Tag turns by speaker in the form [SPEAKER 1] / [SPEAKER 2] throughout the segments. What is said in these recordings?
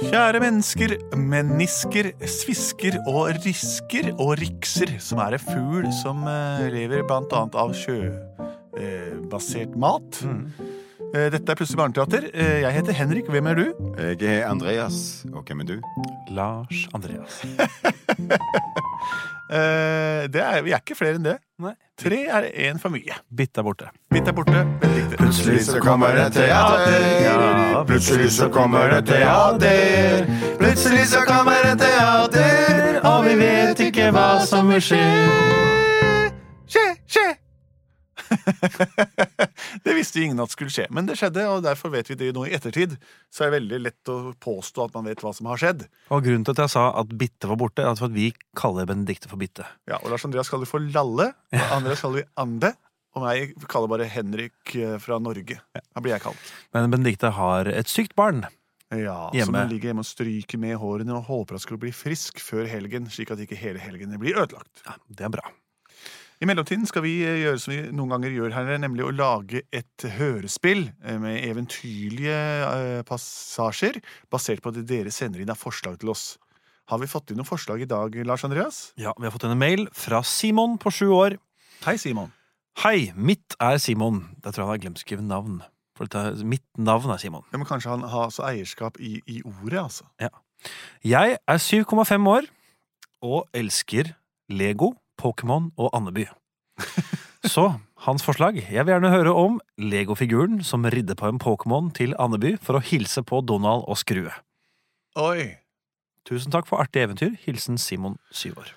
[SPEAKER 1] Kjære mennesker, menisker, svisker og risker og rikser, som er en fugl som eh, lever blant annet av sjøbasert mat. Eh, Dette er Plutselig barneteater. Eh, Jeg heter Henrik. Hvem er du?
[SPEAKER 2] Jeg er Andreas, og hvem er du?
[SPEAKER 3] Lars Andreas.
[SPEAKER 1] Eh, Det er, vi er ikke flere enn det.
[SPEAKER 3] Nei.
[SPEAKER 1] Tre er én for mye.
[SPEAKER 3] Bitt er borte.
[SPEAKER 1] Mitt er borte. Vent litt.
[SPEAKER 2] Plutselig så kommer det teater. Plutselig så kommer det teater. Plutselig så kommer det teater, og vi vet ikke hva som vil skje.
[SPEAKER 1] Skje, skje! det visste ingen at skulle skje, men det skjedde, og derfor vet vi det nå i ettertid. Så er det veldig lett å påstå at man vet hva som har skjedd.
[SPEAKER 3] Og grunnen til at jeg sa at Bitte var borte, er for at vi kaller Benedicte for Bitte.
[SPEAKER 1] Ja, og Lars Andreas kaller vi for Lalle, og Andreas kaller vi Ande. Og meg kaller bare Henrik eh, fra Norge. Da blir jeg kalt.
[SPEAKER 3] Men Benedicte har et sykt barn.
[SPEAKER 1] Ja, Som
[SPEAKER 3] Hjemme.
[SPEAKER 1] hun ligger hjemme og stryker med hårene og håper at skulle bli frisk før helgen, slik at ikke hele helgen blir ødelagt.
[SPEAKER 3] Ja, det er bra.
[SPEAKER 1] I mellomtiden skal vi eh, gjøre som vi noen ganger gjør her, nemlig å lage et hørespill eh, med eventyrlige eh, passasjer, basert på det dere sender inn av forslag til oss. Har vi fått inn noen forslag i dag, Lars Andreas?
[SPEAKER 3] Ja, Vi har fått en mail fra Simon på sju år.
[SPEAKER 1] Hei, Simon.
[SPEAKER 3] Hei, mitt er Simon. Jeg tror han har glemt å skrive navn. For dette, mitt navn er Simon.
[SPEAKER 1] Ja, men kanskje han har altså eierskap i, i ordet, altså.
[SPEAKER 3] Jeg er 7,5 år og elsker Lego, Pokémon og Andeby. Så hans forslag Jeg vil gjerne høre om Lego-figuren som ridde på en Pokémon til Andeby for å hilse på Donald og Skrue.
[SPEAKER 1] Oi!
[SPEAKER 3] Tusen takk for artig eventyr. Hilsen Simon, syv år.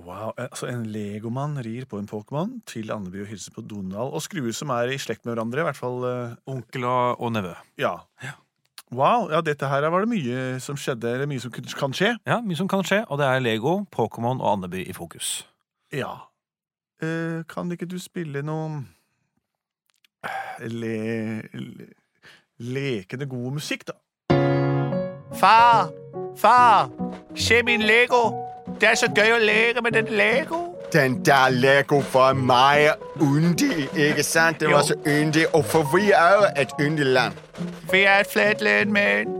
[SPEAKER 1] Wow, eh, altså En legomann rir på en Pokémon til Andeby og hilser på Donald og Skrue, som er i slekt med hverandre. i hvert fall, eh,
[SPEAKER 3] Onkel og, og nevø.
[SPEAKER 1] ja. Wow, ja, dette her var det mye som skjedde, eller mye som kunne- kan skje.
[SPEAKER 3] Ja, Mye som kan skje, og det er Lego, Pokémon og Andeby i fokus.
[SPEAKER 1] Ja. Eh, kan ikke du spille noe le, le, lekende god musikk, da? Far! Far! Se min Lego! Det er så gøy å leke med den Lego!
[SPEAKER 2] Den der Lego for meg er yndig, ikke sant? Det var så yndig, og for vi er jo et yndig land.
[SPEAKER 1] Vi er et flatland, men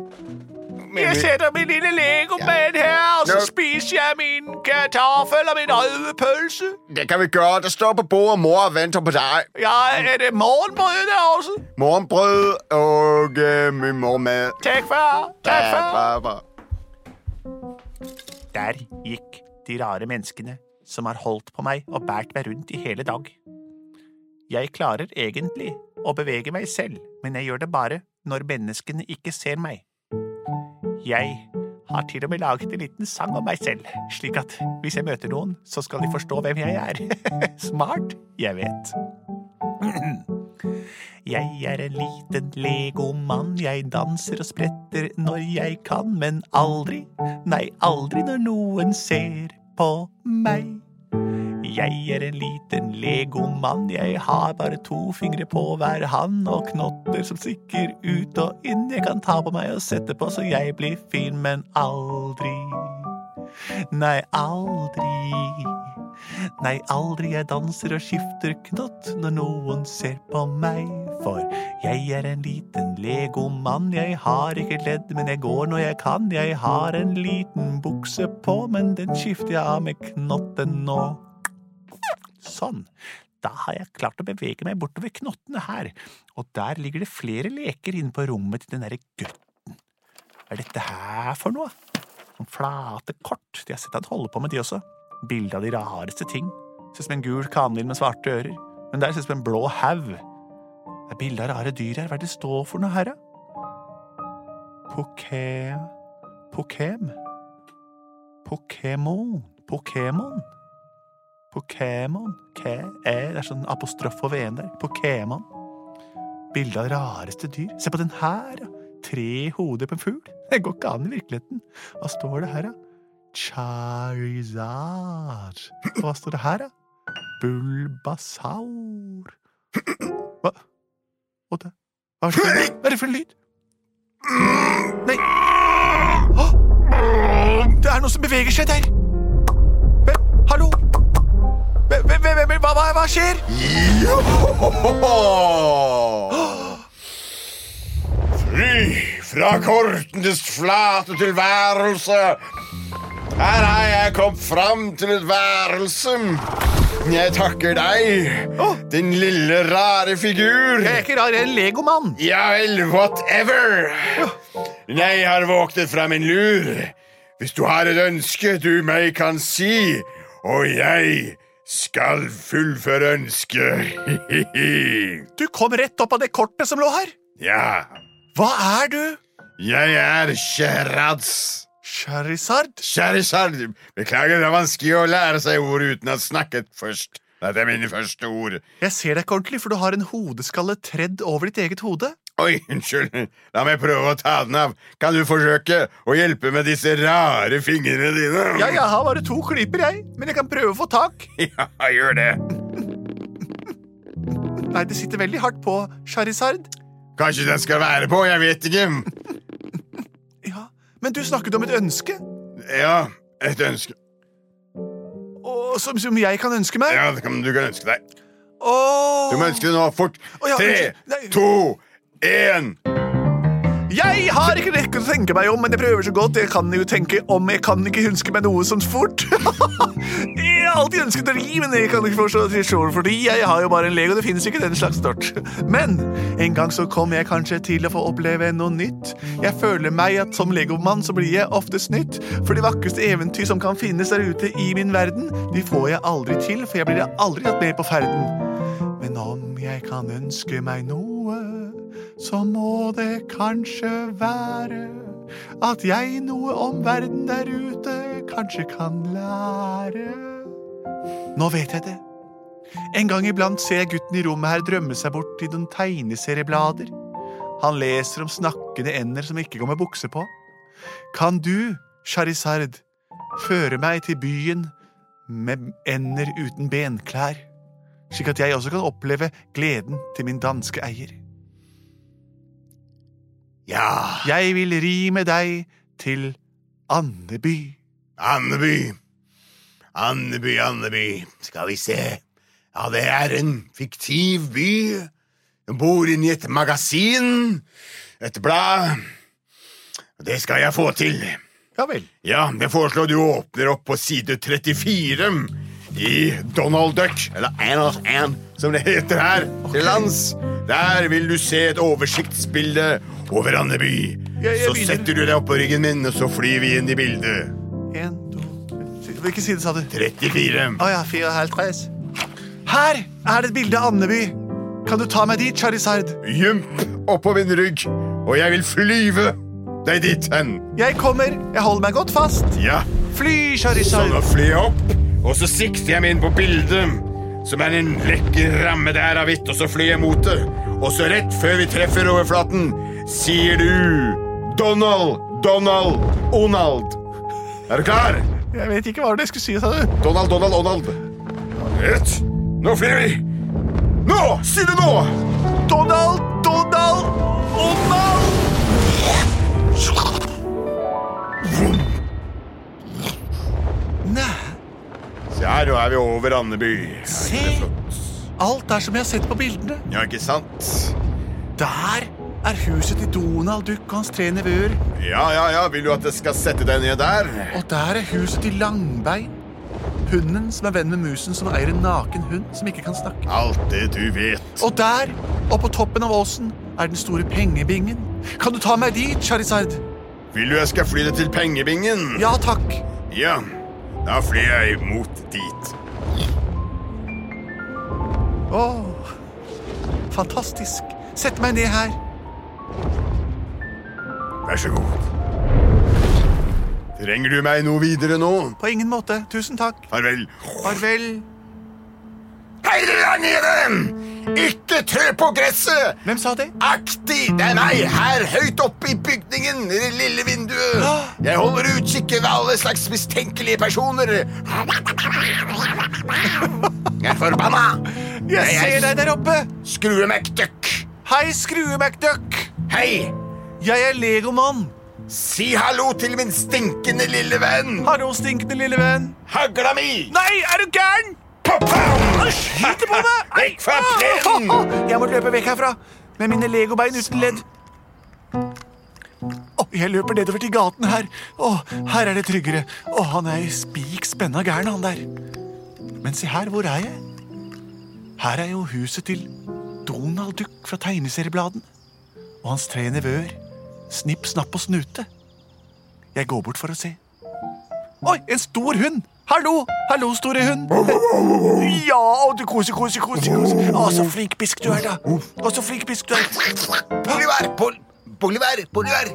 [SPEAKER 2] Men vi-
[SPEAKER 1] min lille Lego-mann her, og
[SPEAKER 2] så Nå-
[SPEAKER 1] spiser jeg min kartoffel og min rødpølse.
[SPEAKER 2] Det kan vi gøre. Der står på bordet, mor og venter på dig.
[SPEAKER 1] Jeg er det morgenbrød der også.
[SPEAKER 2] Morgenbrød og øh, min morgenmad.
[SPEAKER 1] Takk, far. Takk,
[SPEAKER 2] Bra, bra.
[SPEAKER 1] Der gikk de rare menneskene som har holdt på meg og båret meg rundt i hele dag. Jeg klarer egentlig å bevege meg selv, men jeg gjør det bare når menneskene ikke ser meg. Jeg har til og med laget en liten sang om meg selv, slik at hvis jeg møter noen, så skal de forstå hvem jeg er. Smart, jeg vet. Jeg er en liten legomann, jeg danser og spretter når jeg kan, men aldri, nei, aldri når noen ser på meg. Jeg er en liten legomann, jeg har bare to fingre på hver hand og knotter som stikker ut og inn, jeg kan ta på meg og sette på så jeg blir fin, men aldri, nei, aldri. Nei, aldri jeg danser og skifter knott når noen ser på meg. For jeg er en liten legomann, jeg har ikke ledd, men jeg går når jeg kan. Jeg har en liten bukse på, men den skifter jeg av med knotten nå. Sånn. Da har jeg klart å bevege meg bortover knottene her, og der ligger det flere leker inne på rommet til den derre gutten. Hva er dette her for noe? Sånn flate kort. De har sett han holde på med de også. Bilde av de rareste ting. Ser ut som en gul kanvin med svarte ører. Men der ser det ut som en blå haug. Det er bilde av rare dyr her. Hva er det det står for noe her, da? Poké... Pokem? Pokémon? Pokémon? Pokémon? Ke... E. Det er sånn apostrof over en der. Pokémon. Bilde av rareste dyr. Se på den her, ja. tre hoder på en fugl. Det går ikke an i virkeligheten. Hva står det her, da? Charizard. Og hva står det her, da? Bulbasaur. Hva? Åh, det- Hva er det for en lyd? Hva er det for en lyd? Nei Åh! Det er noe som beveger seg der! Hvem? Hallo? Hvem, hvem, hvem, hvem, hva, hva, hva skjer?
[SPEAKER 2] Fly fra kortenes flate tilværelse. Her har jeg kommet fram til et værelse. Jeg takker deg,
[SPEAKER 1] Å.
[SPEAKER 2] din lille rare figur.
[SPEAKER 1] Jeg er ikke rar, jeg er en legomann.
[SPEAKER 2] Ja vel, whatever. Jeg har våknet fra min lur. Hvis du har et ønske du meg kan si, og jeg skal fullføre ønsket.
[SPEAKER 1] Du kom rett opp av det kortet som lå her.
[SPEAKER 2] ja,
[SPEAKER 1] Hva er du?
[SPEAKER 2] jeg er Sherads.
[SPEAKER 1] Charizard?
[SPEAKER 2] Kjære Sard, beklager, det er vanskelig å lære seg ord uten å ha snakket først. Dette er mine første ord.
[SPEAKER 1] Jeg ser deg ikke ordentlig, for du har en hodeskalle tredd over ditt eget hode.
[SPEAKER 2] Oi, unnskyld. La meg prøve å ta den av. Kan du forsøke å hjelpe med disse rare fingrene dine?
[SPEAKER 1] Ja, jeg har bare to klyper, jeg, men jeg kan prøve å få tak.
[SPEAKER 2] Ja, gjør det.
[SPEAKER 1] Nei, det sitter veldig hardt på, Charizard.
[SPEAKER 2] Kanskje den skal være på, jeg vet ikke.
[SPEAKER 1] Ja, men du snakket om et ønske,
[SPEAKER 2] Ja, et ønske.
[SPEAKER 1] og, som, som jeg kan ønske meg.
[SPEAKER 2] Ja, det kan du kan ønske deg.
[SPEAKER 1] Åh.
[SPEAKER 2] Du må ønske det nå, fort.
[SPEAKER 1] Å, ja,
[SPEAKER 2] Tre,
[SPEAKER 1] unnskyld. Nei.
[SPEAKER 2] to, én.
[SPEAKER 1] Jeg har ikke rekke å tenke meg om, men jeg prøver så godt. Jeg kan jo tenke om, jeg kan ikke huske meg noe sånt fort. jeg har alltid ønsket å ri, men jeg kan ikke forstå at jeg slår fordi jeg har jo bare en Lego, det finnes ikke den slags stort. Men en gang så kommer jeg kanskje til å få oppleve noe nytt. Jeg føler meg at som legomann så blir jeg ofte snytt, for de vakreste eventyr som kan finnes der ute i min verden, de får jeg aldri til, for jeg blir aldri tatt med på ferden. Men om jeg kan ønske meg noe, så må det kanskje være at jeg noe om verden der ute kanskje kan lære. Nå vet jeg det. En gang iblant ser jeg gutten i rommet her drømme seg bort i noen tegneserieblader. Han leser om snakkende ender som ikke går med bukse på. Kan du, Charizard, føre meg til byen med ender uten benklær? slik at jeg også kan oppleve gleden til min danske eier.
[SPEAKER 2] Ja,
[SPEAKER 1] Jeg vil ri med deg til Andeby.
[SPEAKER 2] Andeby. Andeby, Andeby. Skal vi se. Ja, det er en fiktiv by. Den bor inni et magasin. Et blad. Det skal jeg få til.
[SPEAKER 1] Ja vel.
[SPEAKER 2] Ja, jeg foreslår du åpner opp på side 34 i Donald Duck, eller Anos An, som det heter her til lands. Der vil du se et oversiktsbilde over Andeby.
[SPEAKER 1] Jeg- jeg
[SPEAKER 2] Så
[SPEAKER 1] begynner.
[SPEAKER 2] setter du deg opp på ryggen min, og så flyr vi inn i bildet.
[SPEAKER 1] En, to, tre Hvilken side sa du?
[SPEAKER 2] 34.
[SPEAKER 1] Å ja, fire og halv tres. Her er det et bilde av Andeby. Kan du ta meg dit, Charizard?
[SPEAKER 2] Gymp oppå min rygg, og jeg vil flyve deg dit hen.
[SPEAKER 1] Jeg kommer. Jeg holder meg godt fast.
[SPEAKER 2] Ja,
[SPEAKER 1] Fly,
[SPEAKER 2] så
[SPEAKER 1] Charizard.
[SPEAKER 2] nå flyr jeg opp, og så sikter jeg meg inn på bildet, som er en lekker ramme der av hvitt, og så flyr jeg mot det. Og så rett før vi treffer overflaten, sier du Donald, Donald, Onald. Er du klar?
[SPEAKER 1] Jeg vet ikke hva det jeg skulle si, sa du.
[SPEAKER 2] Donald, Donald, Onald. Rett. Nå flyr vi. Nå! Si det nå!
[SPEAKER 1] Donald, Donald, Donald! Nei,
[SPEAKER 2] Se her, nå er vi over Andeby.
[SPEAKER 1] Se.
[SPEAKER 2] Er ikke det flott?
[SPEAKER 1] alt er som jeg har sett på bildene.
[SPEAKER 2] Ja, ikke sant?
[SPEAKER 1] Der er huset til Donald Duck og hans tre nevøer.
[SPEAKER 2] Ja, ja, ja, vil du at jeg skal sette deg ned der?
[SPEAKER 1] Og der er huset til Langbein. Hunden som er venn med musen som eier en naken hund som ikke kan snakke.
[SPEAKER 2] Alt det du vet.
[SPEAKER 1] Og der, oppå toppen av åsen, er den store pengebingen. Kan du ta meg dit, Charizard?
[SPEAKER 2] Vil du jeg skal fly deg til pengebingen?
[SPEAKER 1] Ja takk.
[SPEAKER 2] Ja, da flyr jeg mot dit.
[SPEAKER 1] Åh, fantastisk. Sett meg ned her.
[SPEAKER 2] Vær så god. Trenger du meg noe videre nå?
[SPEAKER 1] På ingen måte. Tusen takk.
[SPEAKER 2] Farvel.
[SPEAKER 1] Farvel.
[SPEAKER 2] Feil deg ned i den! Ikke trø på gresset!
[SPEAKER 1] Hvem sa det?
[SPEAKER 2] Akti! Det er meg her høyt oppe i bygningen i det lille vinduet. Jeg holder utkikk ved alle slags mistenkelige personer. Jeg er forbanna.
[SPEAKER 1] Jeg ser deg der oppe!
[SPEAKER 2] Skrue McDuck.
[SPEAKER 1] Hei, Skrue McDuck!
[SPEAKER 2] Hei!
[SPEAKER 1] Jeg er legomann.
[SPEAKER 2] Si hallo til min stinkende lille venn.
[SPEAKER 1] Hallo, stinkende lille venn.
[SPEAKER 2] Hagla mi!
[SPEAKER 1] Nei, er du gæren?
[SPEAKER 2] Pop-pam!
[SPEAKER 1] Han skyter på meg! Nei.
[SPEAKER 2] Vekk fra plenen!
[SPEAKER 1] Jeg må løpe vekk herfra med mine legobein uten ledd. Å, jeg løper nedover til gaten her. Å, her er det tryggere. Å, han er spik spenna gæren, han der. Men se her, hvor er jeg? Her er jo huset til Donald Duck fra tegneseriebladene. Og hans tre nevøer. Snipp, snapp og snute. Jeg går bort for å se. Oi, en stor hund! Hallo, hallo, store hund. Ja, og du koser, koser, koser. koser. Å, så flink bisk du er, da. Å, så flink bisk du er.
[SPEAKER 2] Bolivar, Bol Bolivar, Bolivar.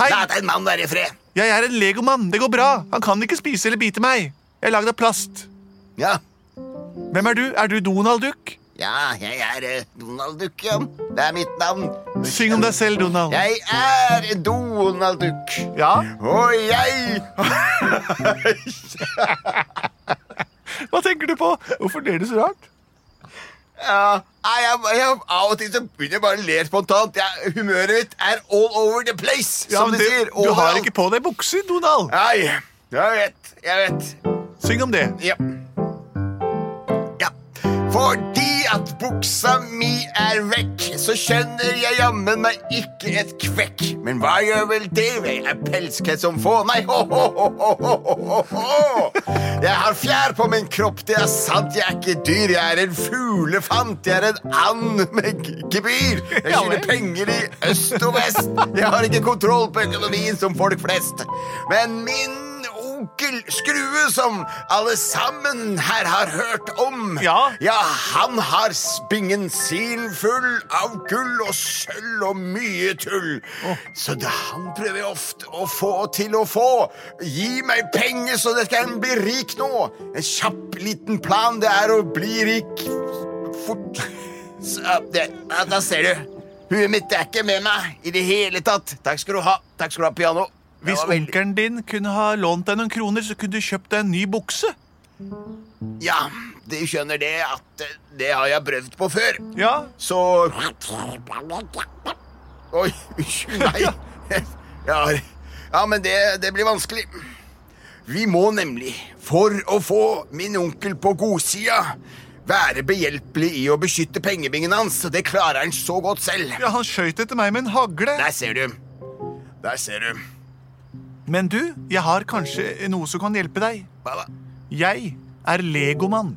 [SPEAKER 1] Hei.
[SPEAKER 2] La den mannen være i fred.
[SPEAKER 1] Jeg er en legomann. Det går bra. Han kan ikke spise eller bite meg. Jeg er lagd av plast.
[SPEAKER 2] Ja,
[SPEAKER 1] Hvem er du? Er du Donald Duck?
[SPEAKER 2] ja, jeg er eh, Donald Duck, ja. Det er mitt navn.
[SPEAKER 1] Syng om deg selv, Donald.
[SPEAKER 2] Jeg er Donald Duck.
[SPEAKER 1] Ja?
[SPEAKER 2] Og jeg
[SPEAKER 1] Hva tenker du på? Hvorfor ler du så rart?
[SPEAKER 2] Ja, nei, jeg, jeg, Av og til så begynner jeg bare å le spontant. Jeg, humøret mitt er all over the place,
[SPEAKER 1] Ja,
[SPEAKER 2] som
[SPEAKER 1] men
[SPEAKER 2] de sier.
[SPEAKER 1] du har
[SPEAKER 2] Overalt.
[SPEAKER 1] ikke på deg bukser, Donald.
[SPEAKER 2] Nei, jeg vet, jeg vet.
[SPEAKER 1] Syng om det.
[SPEAKER 2] Ja. ja. Fordi at buksa mi er vekk, så skjønner jeg jammen meg ikke et kvekk. Men hva gjør vel det? Jeg er pelskhet som få. Nei, ho-ho-ho-ho-ho-ho! Jeg har fjær på min kropp, det er sant. Jeg er ikke dyr. Jeg er en fuglefant. Jeg er en and med g- gebyr. Jeg
[SPEAKER 1] Ja,
[SPEAKER 2] skylder
[SPEAKER 1] vel.
[SPEAKER 2] penger i øst og vest. Jeg har ikke kontroll på økonomien som folk flest. Men min onkel Skrue, som alle sammen her har hørt om
[SPEAKER 1] Ja.
[SPEAKER 2] han har spingen sin full av gull og sølv og mye tull. Så det han prøver ofte å få til å få. Gi meg penger, så jeg kan bli rik nå. En kjapp liten plan, det er å bli rik fort. Så, ja, det, ja, da ser du. Huet mitt er ikke med meg i det hele tatt. Takk skal du ha. Takk skal du ha, piano. Det
[SPEAKER 1] Hvis
[SPEAKER 2] var veldig-
[SPEAKER 1] onkelen din kunne ha lånt deg noen kroner, så kunne du kjøpt deg en ny bukse.
[SPEAKER 2] Ja, du skjønner det at eh, det har jeg prøvd på før.
[SPEAKER 1] Ja,
[SPEAKER 2] Så Oi, unnskyld, nei. Ja, ja men det, det blir vanskelig. Vi må nemlig, for å få min onkel på godsida, være behjelpelig i å beskytte pengebingen hans. og Det klarer han så godt selv.
[SPEAKER 1] ja han skøyt etter meg med en hagle.
[SPEAKER 2] Der ser du. Der ser du.
[SPEAKER 1] Men du, jeg har kanskje noe som kan hjelpe deg.
[SPEAKER 2] Hva da?
[SPEAKER 1] Jeg er legomann.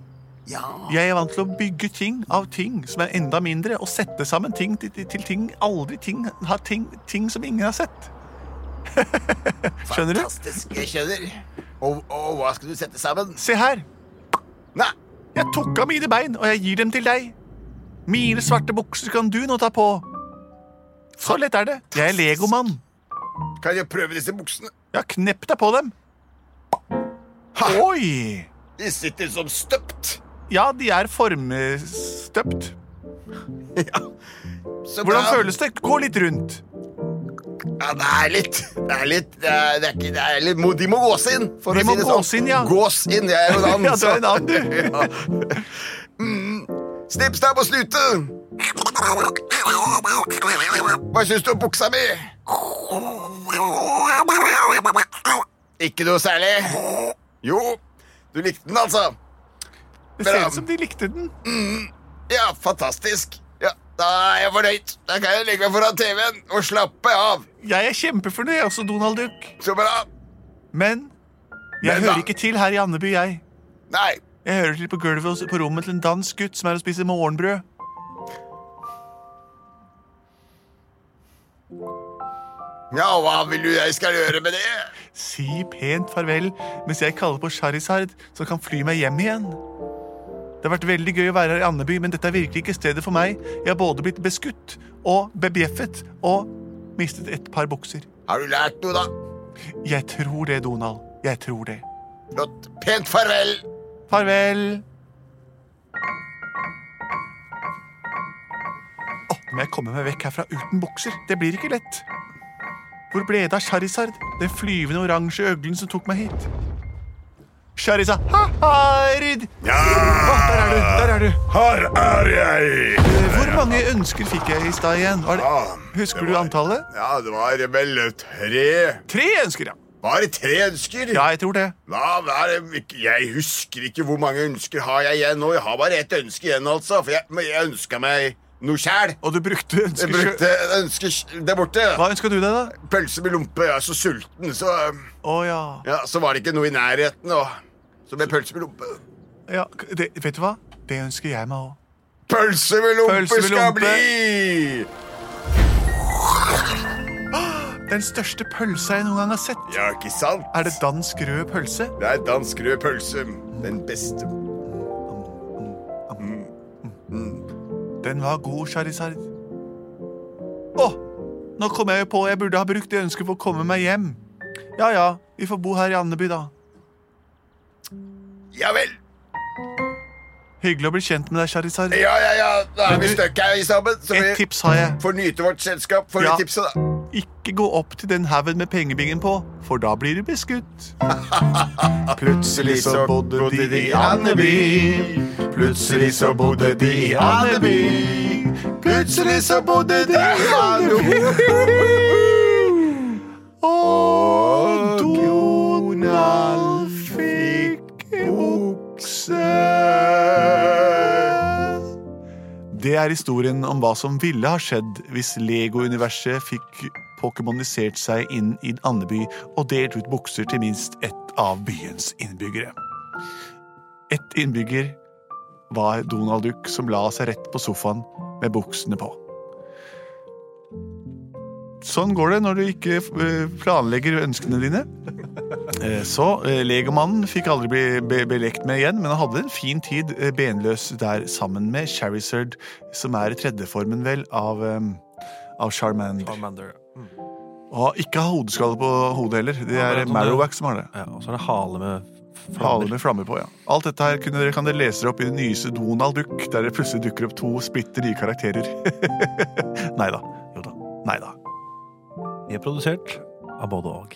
[SPEAKER 2] Ja.
[SPEAKER 1] Jeg er vant til å bygge ting av ting som er enda mindre, og sette sammen ting til, til- til ting aldri ting, har ting, ting som ingen har sett. Skjønner du?
[SPEAKER 2] Fantastisk. Jeg skjønner. Og, og hva skal du sette sammen?
[SPEAKER 1] Se her.
[SPEAKER 2] Nei,
[SPEAKER 1] Jeg tok av mine bein, og jeg gir dem til deg. Mine svarte bukser kan du nå ta på. Så lett er det. Jeg er legomann.
[SPEAKER 2] kan jeg prøve disse buksene?
[SPEAKER 1] Ja, knepp deg på dem.
[SPEAKER 2] Ha,
[SPEAKER 1] Oi!
[SPEAKER 2] de sitter som støpt.
[SPEAKER 1] Ja, de er formstøpt.
[SPEAKER 2] Så
[SPEAKER 1] Hvordan
[SPEAKER 2] bra.
[SPEAKER 1] føles det? Gå litt rundt.
[SPEAKER 2] Ja, det er litt Det er litt, det er, det er ikke, det er litt må- De må gås inn, for
[SPEAKER 1] De
[SPEAKER 2] å
[SPEAKER 1] må
[SPEAKER 2] si det sånn.
[SPEAKER 1] gås inn, ja.
[SPEAKER 2] Gås inn, jeg er jo en annen.
[SPEAKER 1] Ja, du er en annen, du.
[SPEAKER 2] du. Altså. ja. mm. Snipp, snapp og snute. Hva syns du om buksa mi? Ikke noe særlig. Jo, du likte den, altså.
[SPEAKER 1] Det ser
[SPEAKER 2] Bra.
[SPEAKER 1] ut som de likte den.
[SPEAKER 2] Ja, fantastisk. Ja, da er jeg fornøyd. Da kan jeg legge meg foran TV-en og slappe av.
[SPEAKER 1] Jeg er kjempefornøyd, jeg også, Donald Duck.
[SPEAKER 2] Så bra.
[SPEAKER 1] Men jeg
[SPEAKER 2] Men
[SPEAKER 1] hører
[SPEAKER 2] da-
[SPEAKER 1] ikke til her i Andeby, jeg.
[SPEAKER 2] Nei.
[SPEAKER 1] Jeg hører til på gulvet hos- på rommet til en dansk gutt som er og spiser morgenbrød.
[SPEAKER 2] Ja, og hva vil du jeg skal gjøre med det?
[SPEAKER 1] Si pent farvel mens jeg kaller på Charizard, som kan fly meg hjem igjen. Det har vært veldig gøy å være her i Andeby, men dette er virkelig ikke stedet for meg. Jeg har både blitt beskutt og bebjeffet og mistet et par bukser.
[SPEAKER 2] Har du lært noe, da?
[SPEAKER 1] Jeg tror det, Donald. Jeg tror det.
[SPEAKER 2] Flott. Pent farvel.
[SPEAKER 1] Farvel. må jeg komme meg vekk herfra uten bukser. Det blir ikke lett. Hvor ble det av Charizard, den flyvende oransje øglen som tok meg hit? Charizard, ha-ha-rid!
[SPEAKER 2] Ja!
[SPEAKER 1] der er du, der er du.
[SPEAKER 2] Her er jeg!
[SPEAKER 1] Eh, Hvor mange ønsker fikk jeg i stad igjen? Var det,
[SPEAKER 2] Ja,
[SPEAKER 1] husker
[SPEAKER 2] det
[SPEAKER 1] du
[SPEAKER 2] var-
[SPEAKER 1] antallet?
[SPEAKER 2] Ja, det var vel tre
[SPEAKER 1] Tre ønsker, ja.
[SPEAKER 2] Bare tre ønsker?
[SPEAKER 1] Ja, jeg tror det.
[SPEAKER 2] Hva hva er det Jeg husker ikke hvor mange ønsker har jeg igjen nå. Jeg har bare ett ønske igjen, altså. For jeg, men jeg ønska meg noe sjæl.
[SPEAKER 1] Og du brukte
[SPEAKER 2] Jeg
[SPEAKER 1] ønsker
[SPEAKER 2] brukte ønsker sj- der borte.
[SPEAKER 1] Hva ønska du deg, da?
[SPEAKER 2] Pølse med lompe. Jeg er så sulten, så um,
[SPEAKER 1] Å ja.
[SPEAKER 2] Ja, så var det ikke noe i nærheten, og så ble pølse med lompe.
[SPEAKER 1] ja. Det, vet du hva? Det ønsker jeg meg òg.
[SPEAKER 2] Pølse med lompe
[SPEAKER 1] Pølse med
[SPEAKER 2] skal
[SPEAKER 1] lompe.
[SPEAKER 2] bli!
[SPEAKER 1] Den største pølsa jeg noen gang har sett.
[SPEAKER 2] Ja, ikke sant?
[SPEAKER 1] Er det dansk rød pølse?
[SPEAKER 2] Det er dansk rød pølse. Den beste.
[SPEAKER 1] Den var god, Charizard. Å! Nå kom jeg jo på jeg burde ha brukt det ønsket for å komme meg hjem. Ja ja, vi får bo her i Andeby, da.
[SPEAKER 2] Ja vel.
[SPEAKER 1] Hyggelig å bli kjent med deg, Charizard.
[SPEAKER 2] Ja, ja, ja. Da er
[SPEAKER 1] Men
[SPEAKER 2] vi
[SPEAKER 1] du-
[SPEAKER 2] stuck her i sammen. Så
[SPEAKER 1] Et
[SPEAKER 2] vi
[SPEAKER 1] tips har jeg.
[SPEAKER 2] får nyte vårt selskap. Får
[SPEAKER 1] Ja.
[SPEAKER 2] du tipset, da?
[SPEAKER 1] Ikke gå opp til den haugen med pengebingen på, for da blir du beskutt. Plutselig så liksom bodde de i Andeby. Plutselig så bodde de i Andeby. Plutselig så bodde de i Andeby. Og Donald fikk bukse. Det er historien om hva som ville ha skjedd hvis Lego-universet fikk pokémonisert seg inn i Andeby og delt ut bukser til minst ett av byens innbyggere. Ett innbygger var Donald Duck, som la seg rett på sofaen med buksene på. Sånn går det når du ikke eh, planlegger ønskene dine. Eh, Så eh, legomannen fikk aldri bli be belekt med igjen, men han hadde en fin tid eh, benløs der sammen med Charizard, som er tredjeformen vel av, eh, av Charmander.
[SPEAKER 3] Charmander.
[SPEAKER 1] Og ikke ha hodeskalle på hodet heller. Det
[SPEAKER 3] Ja,
[SPEAKER 1] er
[SPEAKER 3] det er sånn
[SPEAKER 1] Marowak som har det.
[SPEAKER 3] Ja, og så er det hale med
[SPEAKER 1] Hale
[SPEAKER 3] flammer.
[SPEAKER 1] med flammer på, ja. Alt dette her kunne dere, kan dere lese opp i den nyeste Donald Duck, der det plutselig dukker opp to splitter nye karakterer. Nei da. Jo da. Nei da.
[SPEAKER 3] Vi er produsert av både og.